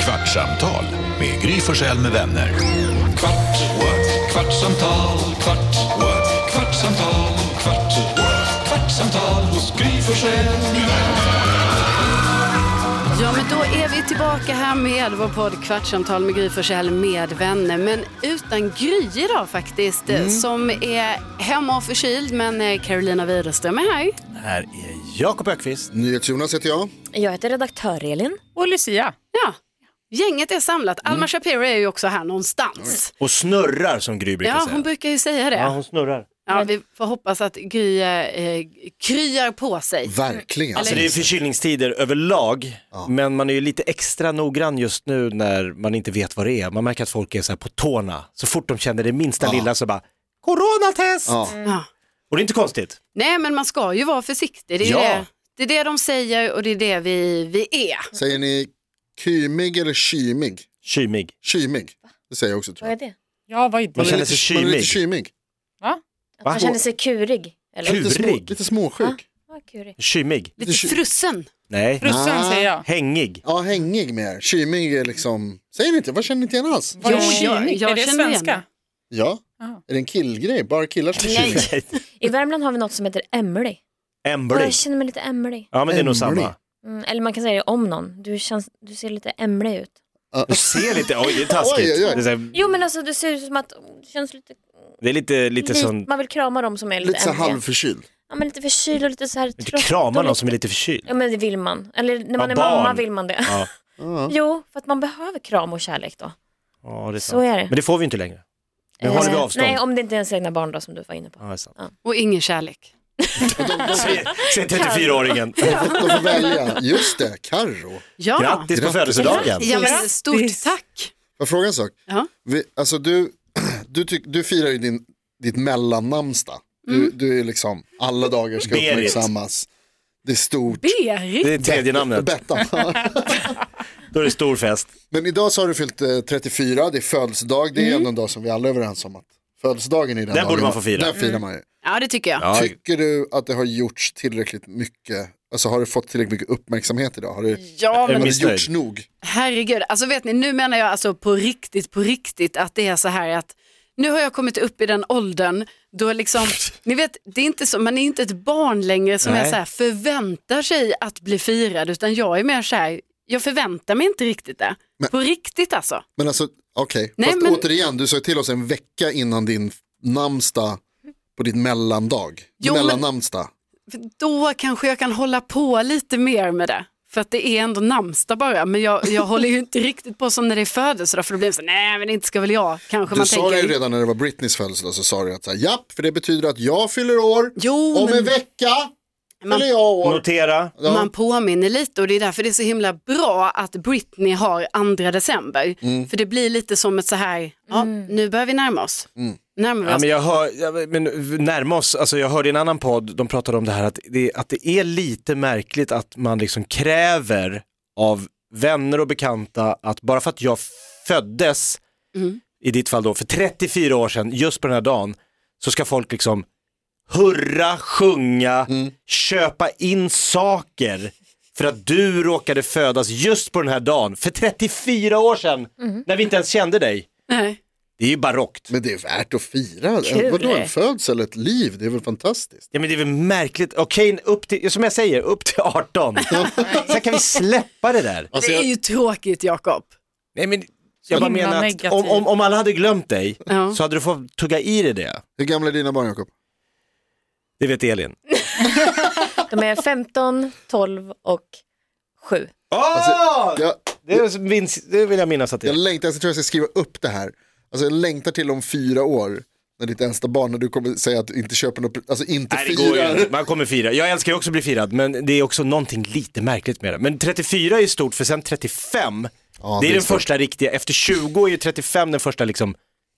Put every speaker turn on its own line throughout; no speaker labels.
Kvartsamtal med Gry Forssell med vänner. Kvart, what? kvartsamtal, kvart, what? kvartsamtal, kvart, what? kvartsamtal hos Gry Forssell med vänner.
Ja, men då är vi tillbaka här med vår podd Kvartsamtal med Gry Forssell med vänner. Men utan Gry idag faktiskt,
Mm.
eh, som är hemma och förkyld. Men eh, Carolina Widerström är här.
Här är Jakob Ökvist.
NyhetsJonas heter jag.
Jag heter redaktör Elin.
Och Lucia.
Ja, gänget är samlat.
Mm.
Alma Shapiro är ju också här någonstans.
Och snurrar som Gry brukar
Ja,
säga.
hon brukar ju säga
Ja,
det.
hon snurrar.
Ja, vi får hoppas att Gry eh, kryar på sig.
Verkligen.
Alltså det är förkylningstider överlag, men man är ju lite extra noggrann just nu när man inte vet vad det är. Man märker att folk är så här på tårna. Så fort de känner det minsta lilla så bara, coronatest!
Ja.
Ja.
Och det är inte konstigt.
Nej, men man ska ju vara försiktig. Det är,
Ja.
det. Det, är det de säger och det är det vi, vi är.
Säger ni kymig eller kymig?
Kymig.
Kymig. Det säger jag också tror
Vad
jag.
är det?
Ja, vad är
Man
Man är
känner
lite-
sig
Man är
kymig.
lite kymig.
Att man känner sig kurig? Eller?
Kul.
Lite, små,
Kurig?
lite småsjuk.
Ja, kurig.
Kymig.
Lite
kyl-
frusen.
Nej.
Brussan
Nej.
säger jag.
Hängig.
Ja, hängig mer. Kymig är liksom, säger ni inte, vad känner ni inte igen alls?
Var
Jo,
det
jag-
kynig?
jag
Är det
känner igen
svenska?
det.
Ja.
Ja.
Är det en killgrej? Bara killar som är kymiga?
I Värmland har vi något som heter emlig. Och
Ämblig.
jag känner mig lite emlig.
Ja men det är nog
Ämblig.
samma.
Mm, eller man kan säga det om någon. Du, känns, du ser lite emlig ut.
Du ser lite, oj det är taskigt.
Oj, oj, oj.
Det är, så här,
Jo men alltså du ser ut som att du känns lite,
det är lite, lite
lite
som,
man vill krama dem som är lite,
Lite så här
emliga.
halvförkyld.
Ja men lite förkyld och lite så här
inte
trött
krama
och
någon som är lite förkyld.
Ja men det vill man. Eller när man
Ja,
är
barn.
mamma vill man det.
Ja.
Ja.
Jo, för att man behöver kram och kärlek då.
Ja, det är
Så
sant.
är det.
Men det får vi inte längre. Nu håller vi
Eh,
avstånd.
Nej, om det inte är ens egna barn då som du var inne på.
Ja, det är sant.
Och ingen kärlek.
Säg- Säg 34-åringen.
De får välja. Just det, Carro.
Ja,
Grattis på
Grattis.
födelsedagen.
ja men
Grattis.
stort tack.
Får jag fråga en sak?
Ja.
Vi, alltså du, du, tyck, du firar ju din, ditt mellannamnsdag. Du,
Mm.
du är liksom, alla dagar ska
Berit.
uppmärksammas. Det är stort.
Berit.
Det är tredje namnet.
Bettan.
Då är det stor fest.
Men idag så har du fyllt eh, 34, det är födelsedag, det
Mm.
är ändå en dag som vi alla är överens om att födelsedagen är den,
Den
dagen
borde man få fira.
Den
Mm.
firar man ju.
Ja, det tycker jag.
Ja.
Tycker du att det har gjorts tillräckligt mycket, alltså har det fått tillräckligt mycket uppmärksamhet idag? Har det,
Ja,
Jag
har
men
är
det
missnöjd.
gjorts nog?
herregud. Alltså vet ni, nu menar jag alltså på riktigt, på riktigt att det är så här att nu har jag kommit upp i den åldern då liksom, ni vet, det är inte så, man är inte ett barn längre som är
Nej.
så här, förväntar sig att bli firad, utan jag är mer så här, jag förväntar mig inte riktigt det. På riktigt alltså.
Men alltså, okej,
Nej,
fast
men-
återigen, du sa ju till oss en vecka innan din namnsdag på ditt mellandag.
Jo, men-
mellannamnsdag.
För då kanske jag kan hålla på lite mer med det. För att det är ändå namnsdag bara, men jag, jag håller ju inte riktigt på som när det är födelsedag för då blir det så nej men inte ska väl jag, kanske
Du
man
sa det ju
tänker.
redan när det var Britneys födelsedag så sa du att så här, japp, för det betyder att jag fyller år,
Jo,
om en
men-
vecka
Man-
fyller jag år.
Notera.
Ja.
Man påminner lite och det är därför det är så himla bra att Britney har 2 december. För det blir lite som ett så här, ja, nu börjar vi närma oss. Närmar vi
Ja,
oss.
men jag hör, ja, men närma oss, alltså jag hörde i en annan podd, de pratade om det här att det, att det är lite märkligt att man liksom kräver av vänner och bekanta att bara för att jag föddes, i ditt fall då, för 34 år sedan, just på den här dagen, så ska folk liksom hurra, sjunga, köpa in saker för att du råkade födas just på den här dagen, för 34 år sedan, när vi inte ens kände dig.
Nej.
Det är ju barockt.
Men det är värt att fira.
Kul.
Vadå en födsel, ett liv, det är väl fantastiskt.
Ja men det är väl märkligt, okej upp till, som jag säger, upp till 18. Sen kan vi släppa det där.
Alltså,
det är
jag,
ju tråkigt Jakob.
Nej men jag bara
Himla
menar att
negativ.
om, om, om alla hade glömt dig
Ja.
så hade du fått tugga i dig det.
hur gamla är dina barn Jakob?
Det vet Elin.
De är 15, 12 och 7.
Åh!
Jag,
Alltså, det, är som vinst- det vill jag minnas att det
jag
är.
längtar, jag tror jag ska skriva upp det här. Alltså, jag längtar till om fyra år, när ditt äldsta barn, när du kommer säga att du inte köper något, alltså inte
Nej, det går ju
firar.
inte. Man kommer fira. Jag älskar ju också att bli firad, men det är också någonting lite märkligt med det. Men 34 är ju stort, för sen 35,
Ja,
det är
det är
den
stort.
första riktiga. Efter 20 är ju 35 den första liksom,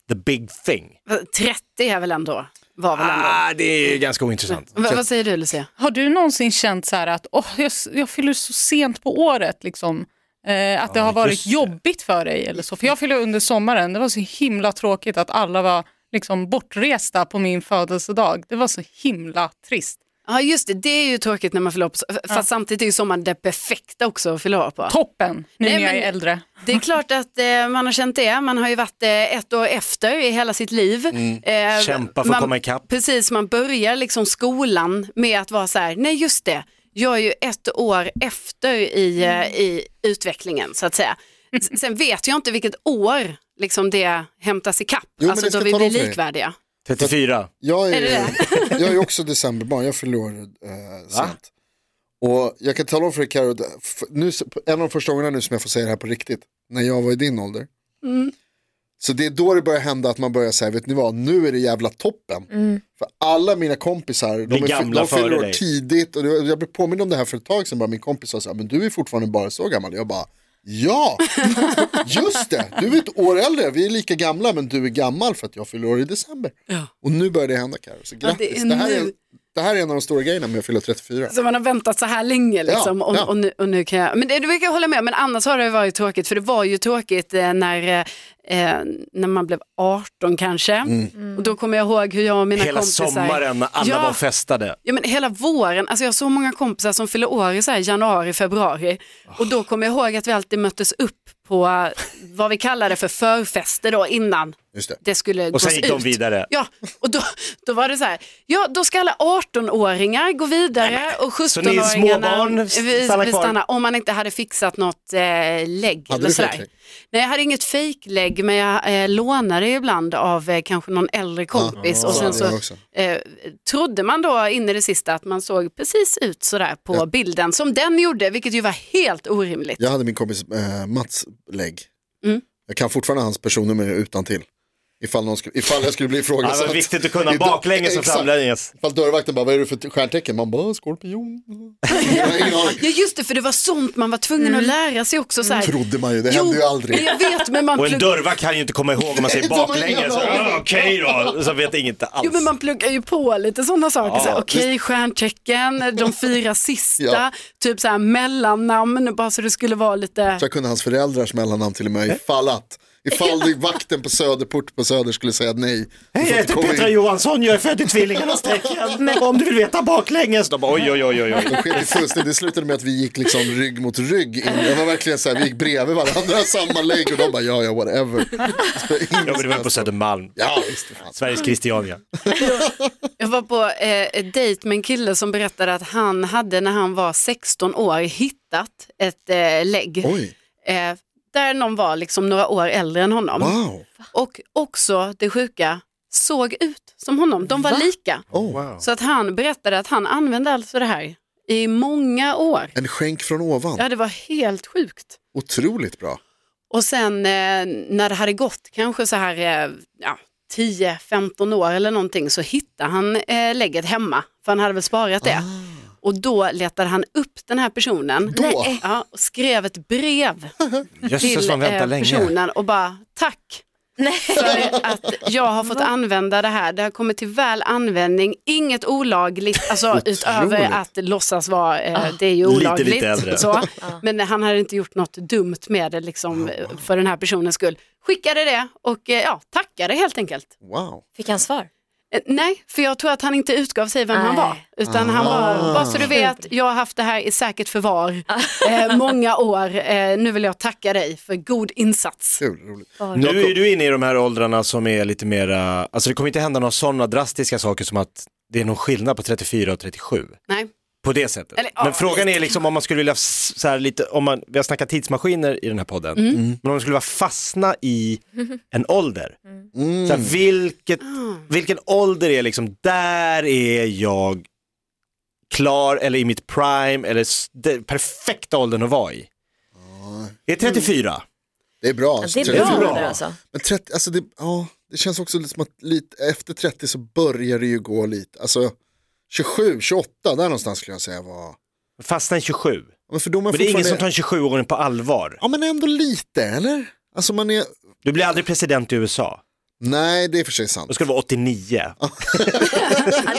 the big thing.
30 är väl ändå, var väl ändå.
Ah, det är ju ganska ointressant.
Va- vad säger du Lucia?
Har du någonsin känt så här att åh, jag, jag fyller så sent på året? Liksom. Eh, att det har varit
just det.
jobbigt för dig eller så. För jag fyller under sommaren. Det var så himla tråkigt att alla var liksom, bortresta på min födelsedag. Det var så himla trist.
Ja just det, det är ju tråkigt när man fyller år på, fast samtidigt är ju sommaren det perfekta också att fylla år på.
Toppen, nu
Nej,
när jag
men-
är äldre.
Det är klart att eh, man har känt det, man har ju varit eh, ett år efter i hela sitt liv. Eh,
Mm. Kämpa för att
man,
komma ikapp.
Precis, man börjar liksom skolan med att vara så här, nej just det, jag är ju ett år efter i, eh, i utvecklingen så att säga. S- Sen vet jag inte vilket år liksom det hämtas ikapp,
men
alltså
det ska
då vi
jag tala
blir
om för dig.
likvärdiga.
34.
Jag är,
Är det
jag är också decemberbarn, jag fyller år eh, sent. Och jag kan tala om för dig Carro, det- f- nu s- en av de första gångerna nu som jag får säga det här på riktigt, när jag var i din ålder.
Mm.
Så det är då det börjar hända att man börjar säga, vet ni vad, nu är det jävla toppen.
Mm.
För alla mina kompisar, de,
Blir
är, fy-
gamla
de fyller
före
år
dig.
tidigt. Och det var- jag blev påmind om det här för ett tag sedan, bara min kompis sa så här, men du är fortfarande bara så gammal. Jag bara, ja, just det, du är ett år äldre, vi är lika gamla, men du är gammal för att jag fyller år i december. Och nu börjar det hända Carro, så grattis.
det
det,
är
här
nu.
är, det här är en av de stora grejerna med att fylla 34.
Så Alltså, man har väntat så här länge liksom,
Ja,
och,
ja.
Och, nu, och nu kan jag, men det, du kan jag hålla med, men annars har det varit tråkigt för det var ju tråkigt eh, när, eh, eh, när man blev 18 kanske. Och då kommer jag ihåg hur jag och mina
Mm. Hela
kompisar...
sommaren när alla
ja,
var och festade.
Ja men hela våren, alltså jag har så många kompisar som fyller år i så här januari, februari. Och då kommer jag ihåg att vi alltid möttes upp på eh, vad vi kallade för förfester då innan
Just det.
det skulle
Och sen
gås
gick de
ut.
vidare.
Ja, och då, då var det så här, ja då ska alla 18-åringar gå vidare och
Så ni
17-åringarna
småbarn s-
vi,
stannar
vi
kvar?
stannar, om man inte hade fixat något eh, lägg.
Hade
eller
du
sådär.
fake lägg?
Nej, jag hade inget fejklägg men jag eh, lånade ju ibland av eh, kanske någon äldre kompis och
så
sen
hade jag
så
också.
eh, trodde man då in i det sista att man såg precis ut sådär på bilden som den gjorde vilket ju var helt orimligt.
Jag hade min kompis eh, Mats lägg.
Mm.
Jag kan fortfarande hans personnummer utan till. Ifall, någon skulle, ifall jag skulle bli
Ja,
ifrågasatt.
det var viktigt att kunna
Idag-
baklänges och
Exakt.
framlänges.
Ifall dörrvakten bara, vad är du för stjärntecken? Man bara, skorpion. Jag har ingen aning.
Ja just det, för det var sånt man var tvungen att lära sig också. Så här.
Mm. Trodde man ju, det hände ju aldrig.
Jag vet, men man
Och en
pluggar
dörrvakt kan ju inte komma ihåg om man säger
Inte om man
baklänges.
jävla aning.
Ja, Okej då, så vet jag inte
Jo men
alls.
man pluggar ju på lite sådana saker.
Ja.
så här, Okej, stjärntecken, de fyra sista,
Ja.
typ så här mellannamn, bara så det skulle vara lite...
Så jag kunde hans föräldrars mellannamn till och med ifall att. Ifall det- vakten på Söderport på Söder skulle säga nej.
Hej, jag heter Petra Johansson, jag är född i tvillingarnas tecken. Om du vill veta baklänges. De bara, oj, oj, oj, oj. oj.
De sket i fullständigt, det slutade med att vi gick liksom rygg mot rygg. In. Det var verkligen så här, vi gick bredvid varandra, samma lägg och de bara ja, ja, whatever.
Ja, men det var på Södermalm.
Ja, visst. för fan.
Sveriges Christiania.
Jag var på eh, ett dejt med en kille som berättade att han hade när han var 16 år hittat ett eh, lägg.
Oj,
Eh, där någon var liksom några år äldre än honom.
wow.
Och också det sjuka, såg ut som honom. De var lika.
Oh.
Så att han berättade att han använde alltså det här i många år.
En skänk från ovan,
Ja, det var helt sjukt.
otroligt bra.
Och sen eh, när det hade gått kanske så här eh, ja, 10-15 år eller någonting så hittade han eh, lägget hemma, för han hade väl sparat det. Och då letade han upp den här personen
Då?
Ja, och skrev ett brev
Jösses,
till
man väntar
eh,
länge.
personen och bara tack
Nej.
för att jag har fått använda det här. Det har kommit till väl användning, inget olagligt, alltså utöver att låtsas vara, eh, det är ju
Lite, lite
olagligt.
äldre.
så. Men han hade inte gjort något dumt med det liksom, eh, för den här personens skull. Skickade det och eh, ja, tackade helt enkelt.
Wow.
Fick han svar?
Eh, Nej, för jag tror att han inte utgav sig vem han
Nej.
var. Utan han
Ah.
var, bara så du vet, jag har haft det här i säkert förvar eh, många år. Eh, nu vill jag tacka dig för god insats.
Kul, roligt.
Nu är du inne i de här åldrarna som är lite mera, alltså det kommer inte hända några sådana drastiska saker som att det är någon skillnad på 34 och 37.
Nej.
På det sättet.
Eller, ja,
men frågan
lite.
är liksom om man skulle vilja, s- så här lite, om man, vi har snackat tidsmaskiner i den här podden,
Mm.
Mm. men om man skulle vilja fastna i en ålder. Så här, vilket,
Mm.
vilken ålder är liksom, där är jag klar eller i mitt prime eller s- den perfekta åldern att vara i. Det är 34.
Det är bra.
Ja, det är bra,
bra.
bra. alltså.
Men 30, alltså det, ja, det känns också lite som att lite, efter 30 så börjar det ju gå lite, alltså 27, 28, där någonstans skulle jag säga var.
Fastna i 27.
Men för då är man
Men det är ingen som
fortfarande-
tar en 27-åring på allvar.
Ja men ändå lite eller? Alltså man är,
Du blir aldrig president i USA.
nej det är för sig sant.
Då ska du vara 89.
Ja,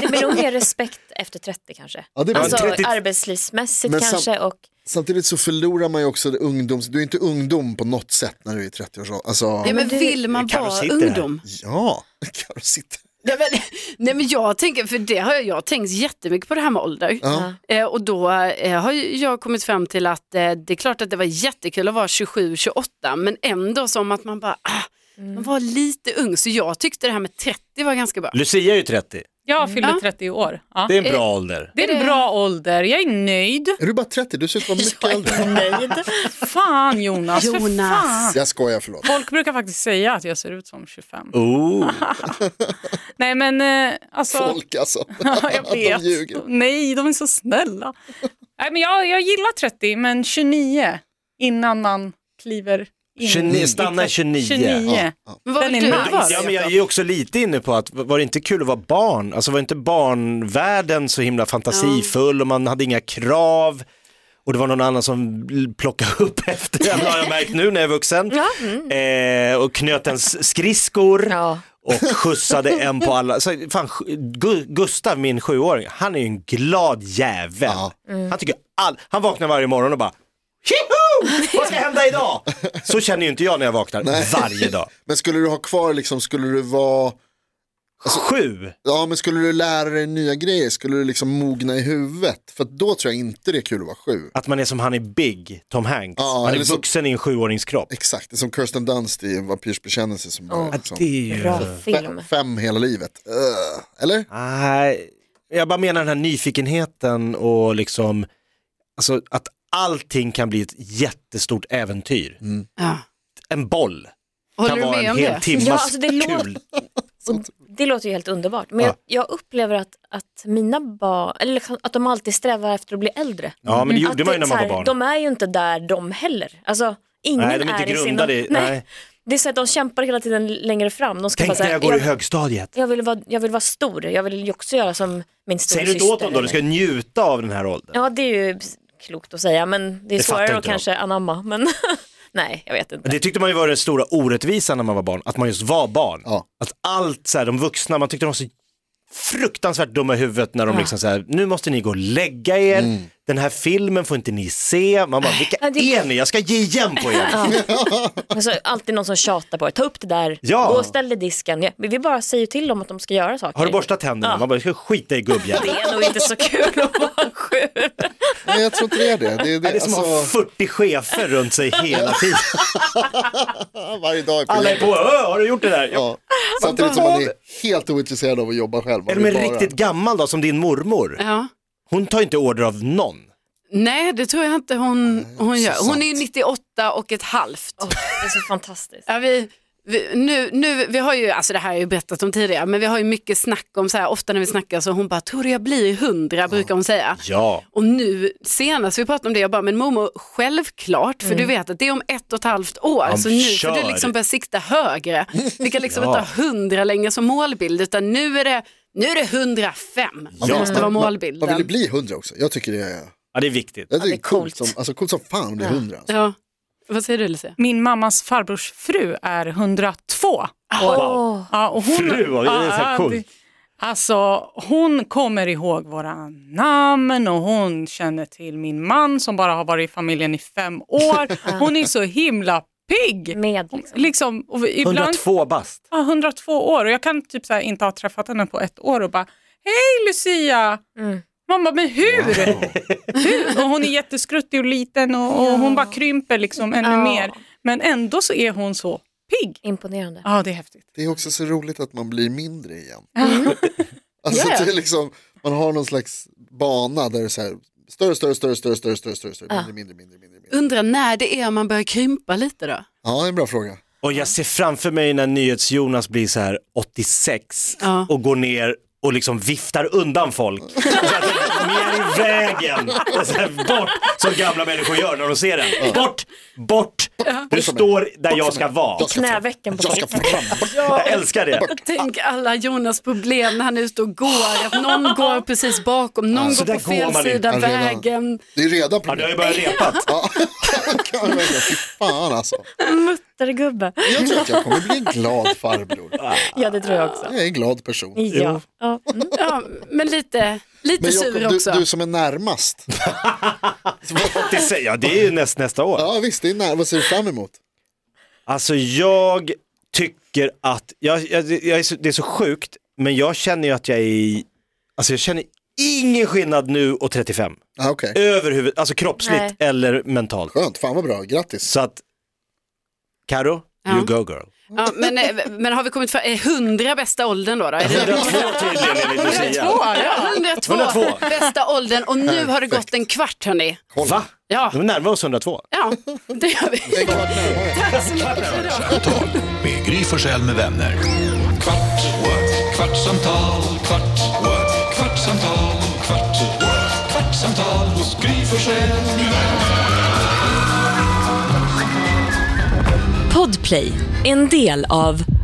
det blir nog mer respekt efter 30 kanske.
Ja, det är bra.
alltså
30
arbetslivsmässigt
Men sam-
kanske och
Samtidigt så förlorar man ju också det ungdoms, du är inte ungdom på något sätt när du är i 30 års ålder. Alltså,
Ja, men
du-
vill man
Karo
vara
sitter här.
ungdom?
ja, Karo sitter.
Nej men, nej men jag tänker, för det har jag, jag har tänkt jättemycket på det här med ålder.
Ja.
Eh, och då eh, har ju jag kommit fram till att eh, det är klart att det var jättekul att vara 27-28 men ändå som att man bara, ah, man var lite ung. Så jag tyckte det här med 30 var ganska bra.
Lucia är ju 30,
Jag fyller
Ja.
30 år. Mm, Ja.
det är en bra ålder.
Det är en bra ålder, jag är nöjd.
Är du bara 30? Du ser ut att vara mycket äldre.
Nöjd.
Fan Jonas, för
Jonas.
fan.
Jag skojar, förlåt.
Folk brukar faktiskt säga att jag ser ut som 25.
Oh.
Nej men eh, alltså...
Folk alltså.
Ja, jag vet.
De ljuger.
Nej, de är så snälla. Nej, men jag, jag gillar 30, men 29 innan man kliver in.
29, stanna i 29.
29.
Ja, ja.
Men vad
Den
vill
är
du
nice.
vara?
Ja, men jag är ju också lite inne på att var det inte kul att vara barn? Alltså var inte barnvärlden så himla fantasifull och man hade inga krav och det var någon annan som l- plockade upp efter en har jag märkt nu när jag är vuxen. Eh, och knöt ens skridskor
Ja.
och skjutsade en på alla. Så, fan, Gu- Gustav, min sjuåring, han är ju en glad jävel. Han, tycker all... han vaknar varje morgon och bara Tjoho! Vad ska hända idag? Så känner ju inte jag när jag vaknar varje dag.
Men skulle du ha kvar, liksom, skulle du vara...
Sju.
Ja, men skulle du lära dig nya grejer? Skulle du liksom mogna i huvudet? För att då tror jag inte det är kul att vara sju.
Att man är som han i Big, Tom Hanks.
Ja,
man är
eller så-
vuxen i en sjuåringskropp.
Exakt, det är som Kirsten Dunst i En vampyrs bekännelse som bara liksom,
Det är ju...
Bra film.
fem, fem hela livet. Ugh. eller?
Nej, jag bara menar den här nyfikenheten och liksom, alltså att allting kan bli ett jättestort äventyr.
Ja.
En boll
Håller
kan
du
vara
med
en
om
hel
det?
timmas
Ja, alltså det låter-
kul.
Och det låter ju helt underbart. Men
Ja.
jag, jag upplever att, att mina barn, eller liksom att de alltid strävar efter att bli äldre.
Ja, men det gjorde
att
man ju när
så
man var
här,
barn.
De är ju inte där de heller. Alltså, ingen
Nej, de är inte
i sin-
grundade i-
nej.
nej.
Det är så att de kämpar hela tiden längre fram. De ska bara
Tänk
så
när
här,
jag går i
jag,
högstadiet.
jag, vill vara, jag vill vara stor, jag vill ju också göra som min
Säger du inte
storasyster.
åt dem då, du ska njuta av den här åldern.
Ja, det är ju klokt att säga, men det är
Det fattar
svårare att
inte de.
kanske anamma. Men nej, jag vet inte.
Men det tyckte man ju var den stora orättvisan när man var barn, att man just var barn.
Ja.
Att allt, så här, de vuxna, man tyckte de var så fruktansvärt dumma i huvudet när de liksom så här, nu måste ni gå och lägga er, den här filmen får inte ni se, man bara, vilka
Ja, det-
är ni? Jag ska ge igen på er.
Men så är det Alltså, alltid någon som tjatar på er, ta upp det där,
Ja.
gå och ställ dig i disken. Ja, men Vi bara säger till dem att de ska göra saker.
Har du borstat tänderna? Man bara, jag ska skita i gubbjäveln.
Det är nog inte så kul att vara sju.
Nej, jag tror inte det är det. Det är, det,
Det är som att ha
alltså,
40 chefer runt sig hela tiden.
varje dag på
Alla är
jobbet.
på, "Ö, har du gjort det där?
Ja. Samtidigt som man är helt ointresserad av att jobba själv. Man
Är de
vill bara-
riktigt gammal då, som din mormor?
Ja.
Hon tar inte order av någon.
Nej, det tror jag inte hon, hon gör. Hon är ju 98 och ett halvt.
Det är så fantastiskt.
Ja, vi, vi, nu, nu, vi har ju, alltså det här har jag ju berättat om tidigare, men vi har ju mycket snack om så här, ofta när vi snackar så hon bara, tror du jag blir hundra, brukar hon säga.
Ja.
Och nu senast vi pratade om det, jag bara, men mormor, självklart, för du
Mm.
vet att det är om ett och ett halvt år,
Ja,
så nu
kör.
får du liksom börja sikta högre. Vi kan liksom
Ja.
inte ha hundra längre som målbild, utan nu är det, nu är det 105 som
Ja.
måste vara
Man vill ju
målbilden.
bli hundra också. Jag tycker det är,
Ja, det är viktigt.
jag tycker
det är
det är coolt.
coolt.
Som, alltså, coolt som fan att bli hundra. Alltså.
Ja. Vad säger du Lucia?
Min mammas farbrors fru är 102 år.
Åh.
Ja, och hon,
Fru, vad är det så här
Ja,
coolt?
det- Alltså, hon kommer ihåg våra namn och hon känner till min man som bara har varit i familjen i fem år. Hon är så himla pigg.
Med
Hon-
liksom.
Liksom, och ibland,
102 bast.
Ja, 102 år och jag kan typ så här inte ha träffat henne på ett år och bara Hej Lucia!
Mm.
Man bara, men hur? hur? Och hon är jätteskruttig och liten och, och hon bara krymper liksom ännu
Ja.
mer. Men ändå så är hon så pigg.
Imponerande.
Ja, det är häftigt.
Det är också så roligt att man blir mindre igen. Alltså,
Ja, ja.
det är liksom, man har någon slags bana där det är så här, större, större, större, större, större, större, större, större, mindre, mindre, mindre, mindre, mindre.
Undrar när det är man börjar krympa lite då?
Ja, det är en bra fråga.
Och jag ser framför mig när NyhetsJonas blir så här 86
Ja.
och går ner och liksom viftar undan folk. Så att Mer i vägen, så här, bort, som gamla människor gör när de ser den. Bort, bort, du står där jag ska vara.
Jag ska fram.
Knävecken på
Jag ska
folk.
fram.
Jag älskar det.
Tänk alla Jonas problem när han är ute och går, att någon går precis bakom, någon
Så
går
där
på fel
går man
sida
inte.
vägen.
Det är redan
Ja, du har ju
problem.
börjat repat.
Ja, kan man verkligen. Fy fan alltså.
Muttergubbe.
Jag tror att jag kommer bli en glad farbror.
Ja, det tror jag också.
Jag är en glad person.
Ja. ja. Mm.
Ja, men lite, lite
Men
sur
Jakob,
också.
du, du som är närmast.
86, ja det är ju näst, nästa år.
Ja visst, det är när, vad ser du fram emot?
Alltså jag tycker att, jag, jag, jag är så, det är så sjukt, Men jag känner ju att jag är, alltså jag känner ingen skillnad nu och 35.
Ah, Okej,
Överhuvud, alltså kroppsligt
Nej.
eller mentalt.
skönt. Fan vad bra, grattis.
Så att, Karo,
Ja.
you go girl.
Ja, men, eh, men har vi kommit för eh, 100 bästa åldern då? då? Är det
102 tydligen enligt Lucia.
102,
102.
bästa åldern och nu har det gått en kvart hörni.
Va?
Ja,
De närmar oss 102.
ja, det gör vi.
Det är klart närmare.
Tack så mycket för idag.
kvartsamtal med Gry Forssell med vänner. Kvart, what? kvartsamtal, kvart, what? kvartsamtal, kvart, what? kvartsamtal hos Gry Forssell med vänner.
Podplay, en del av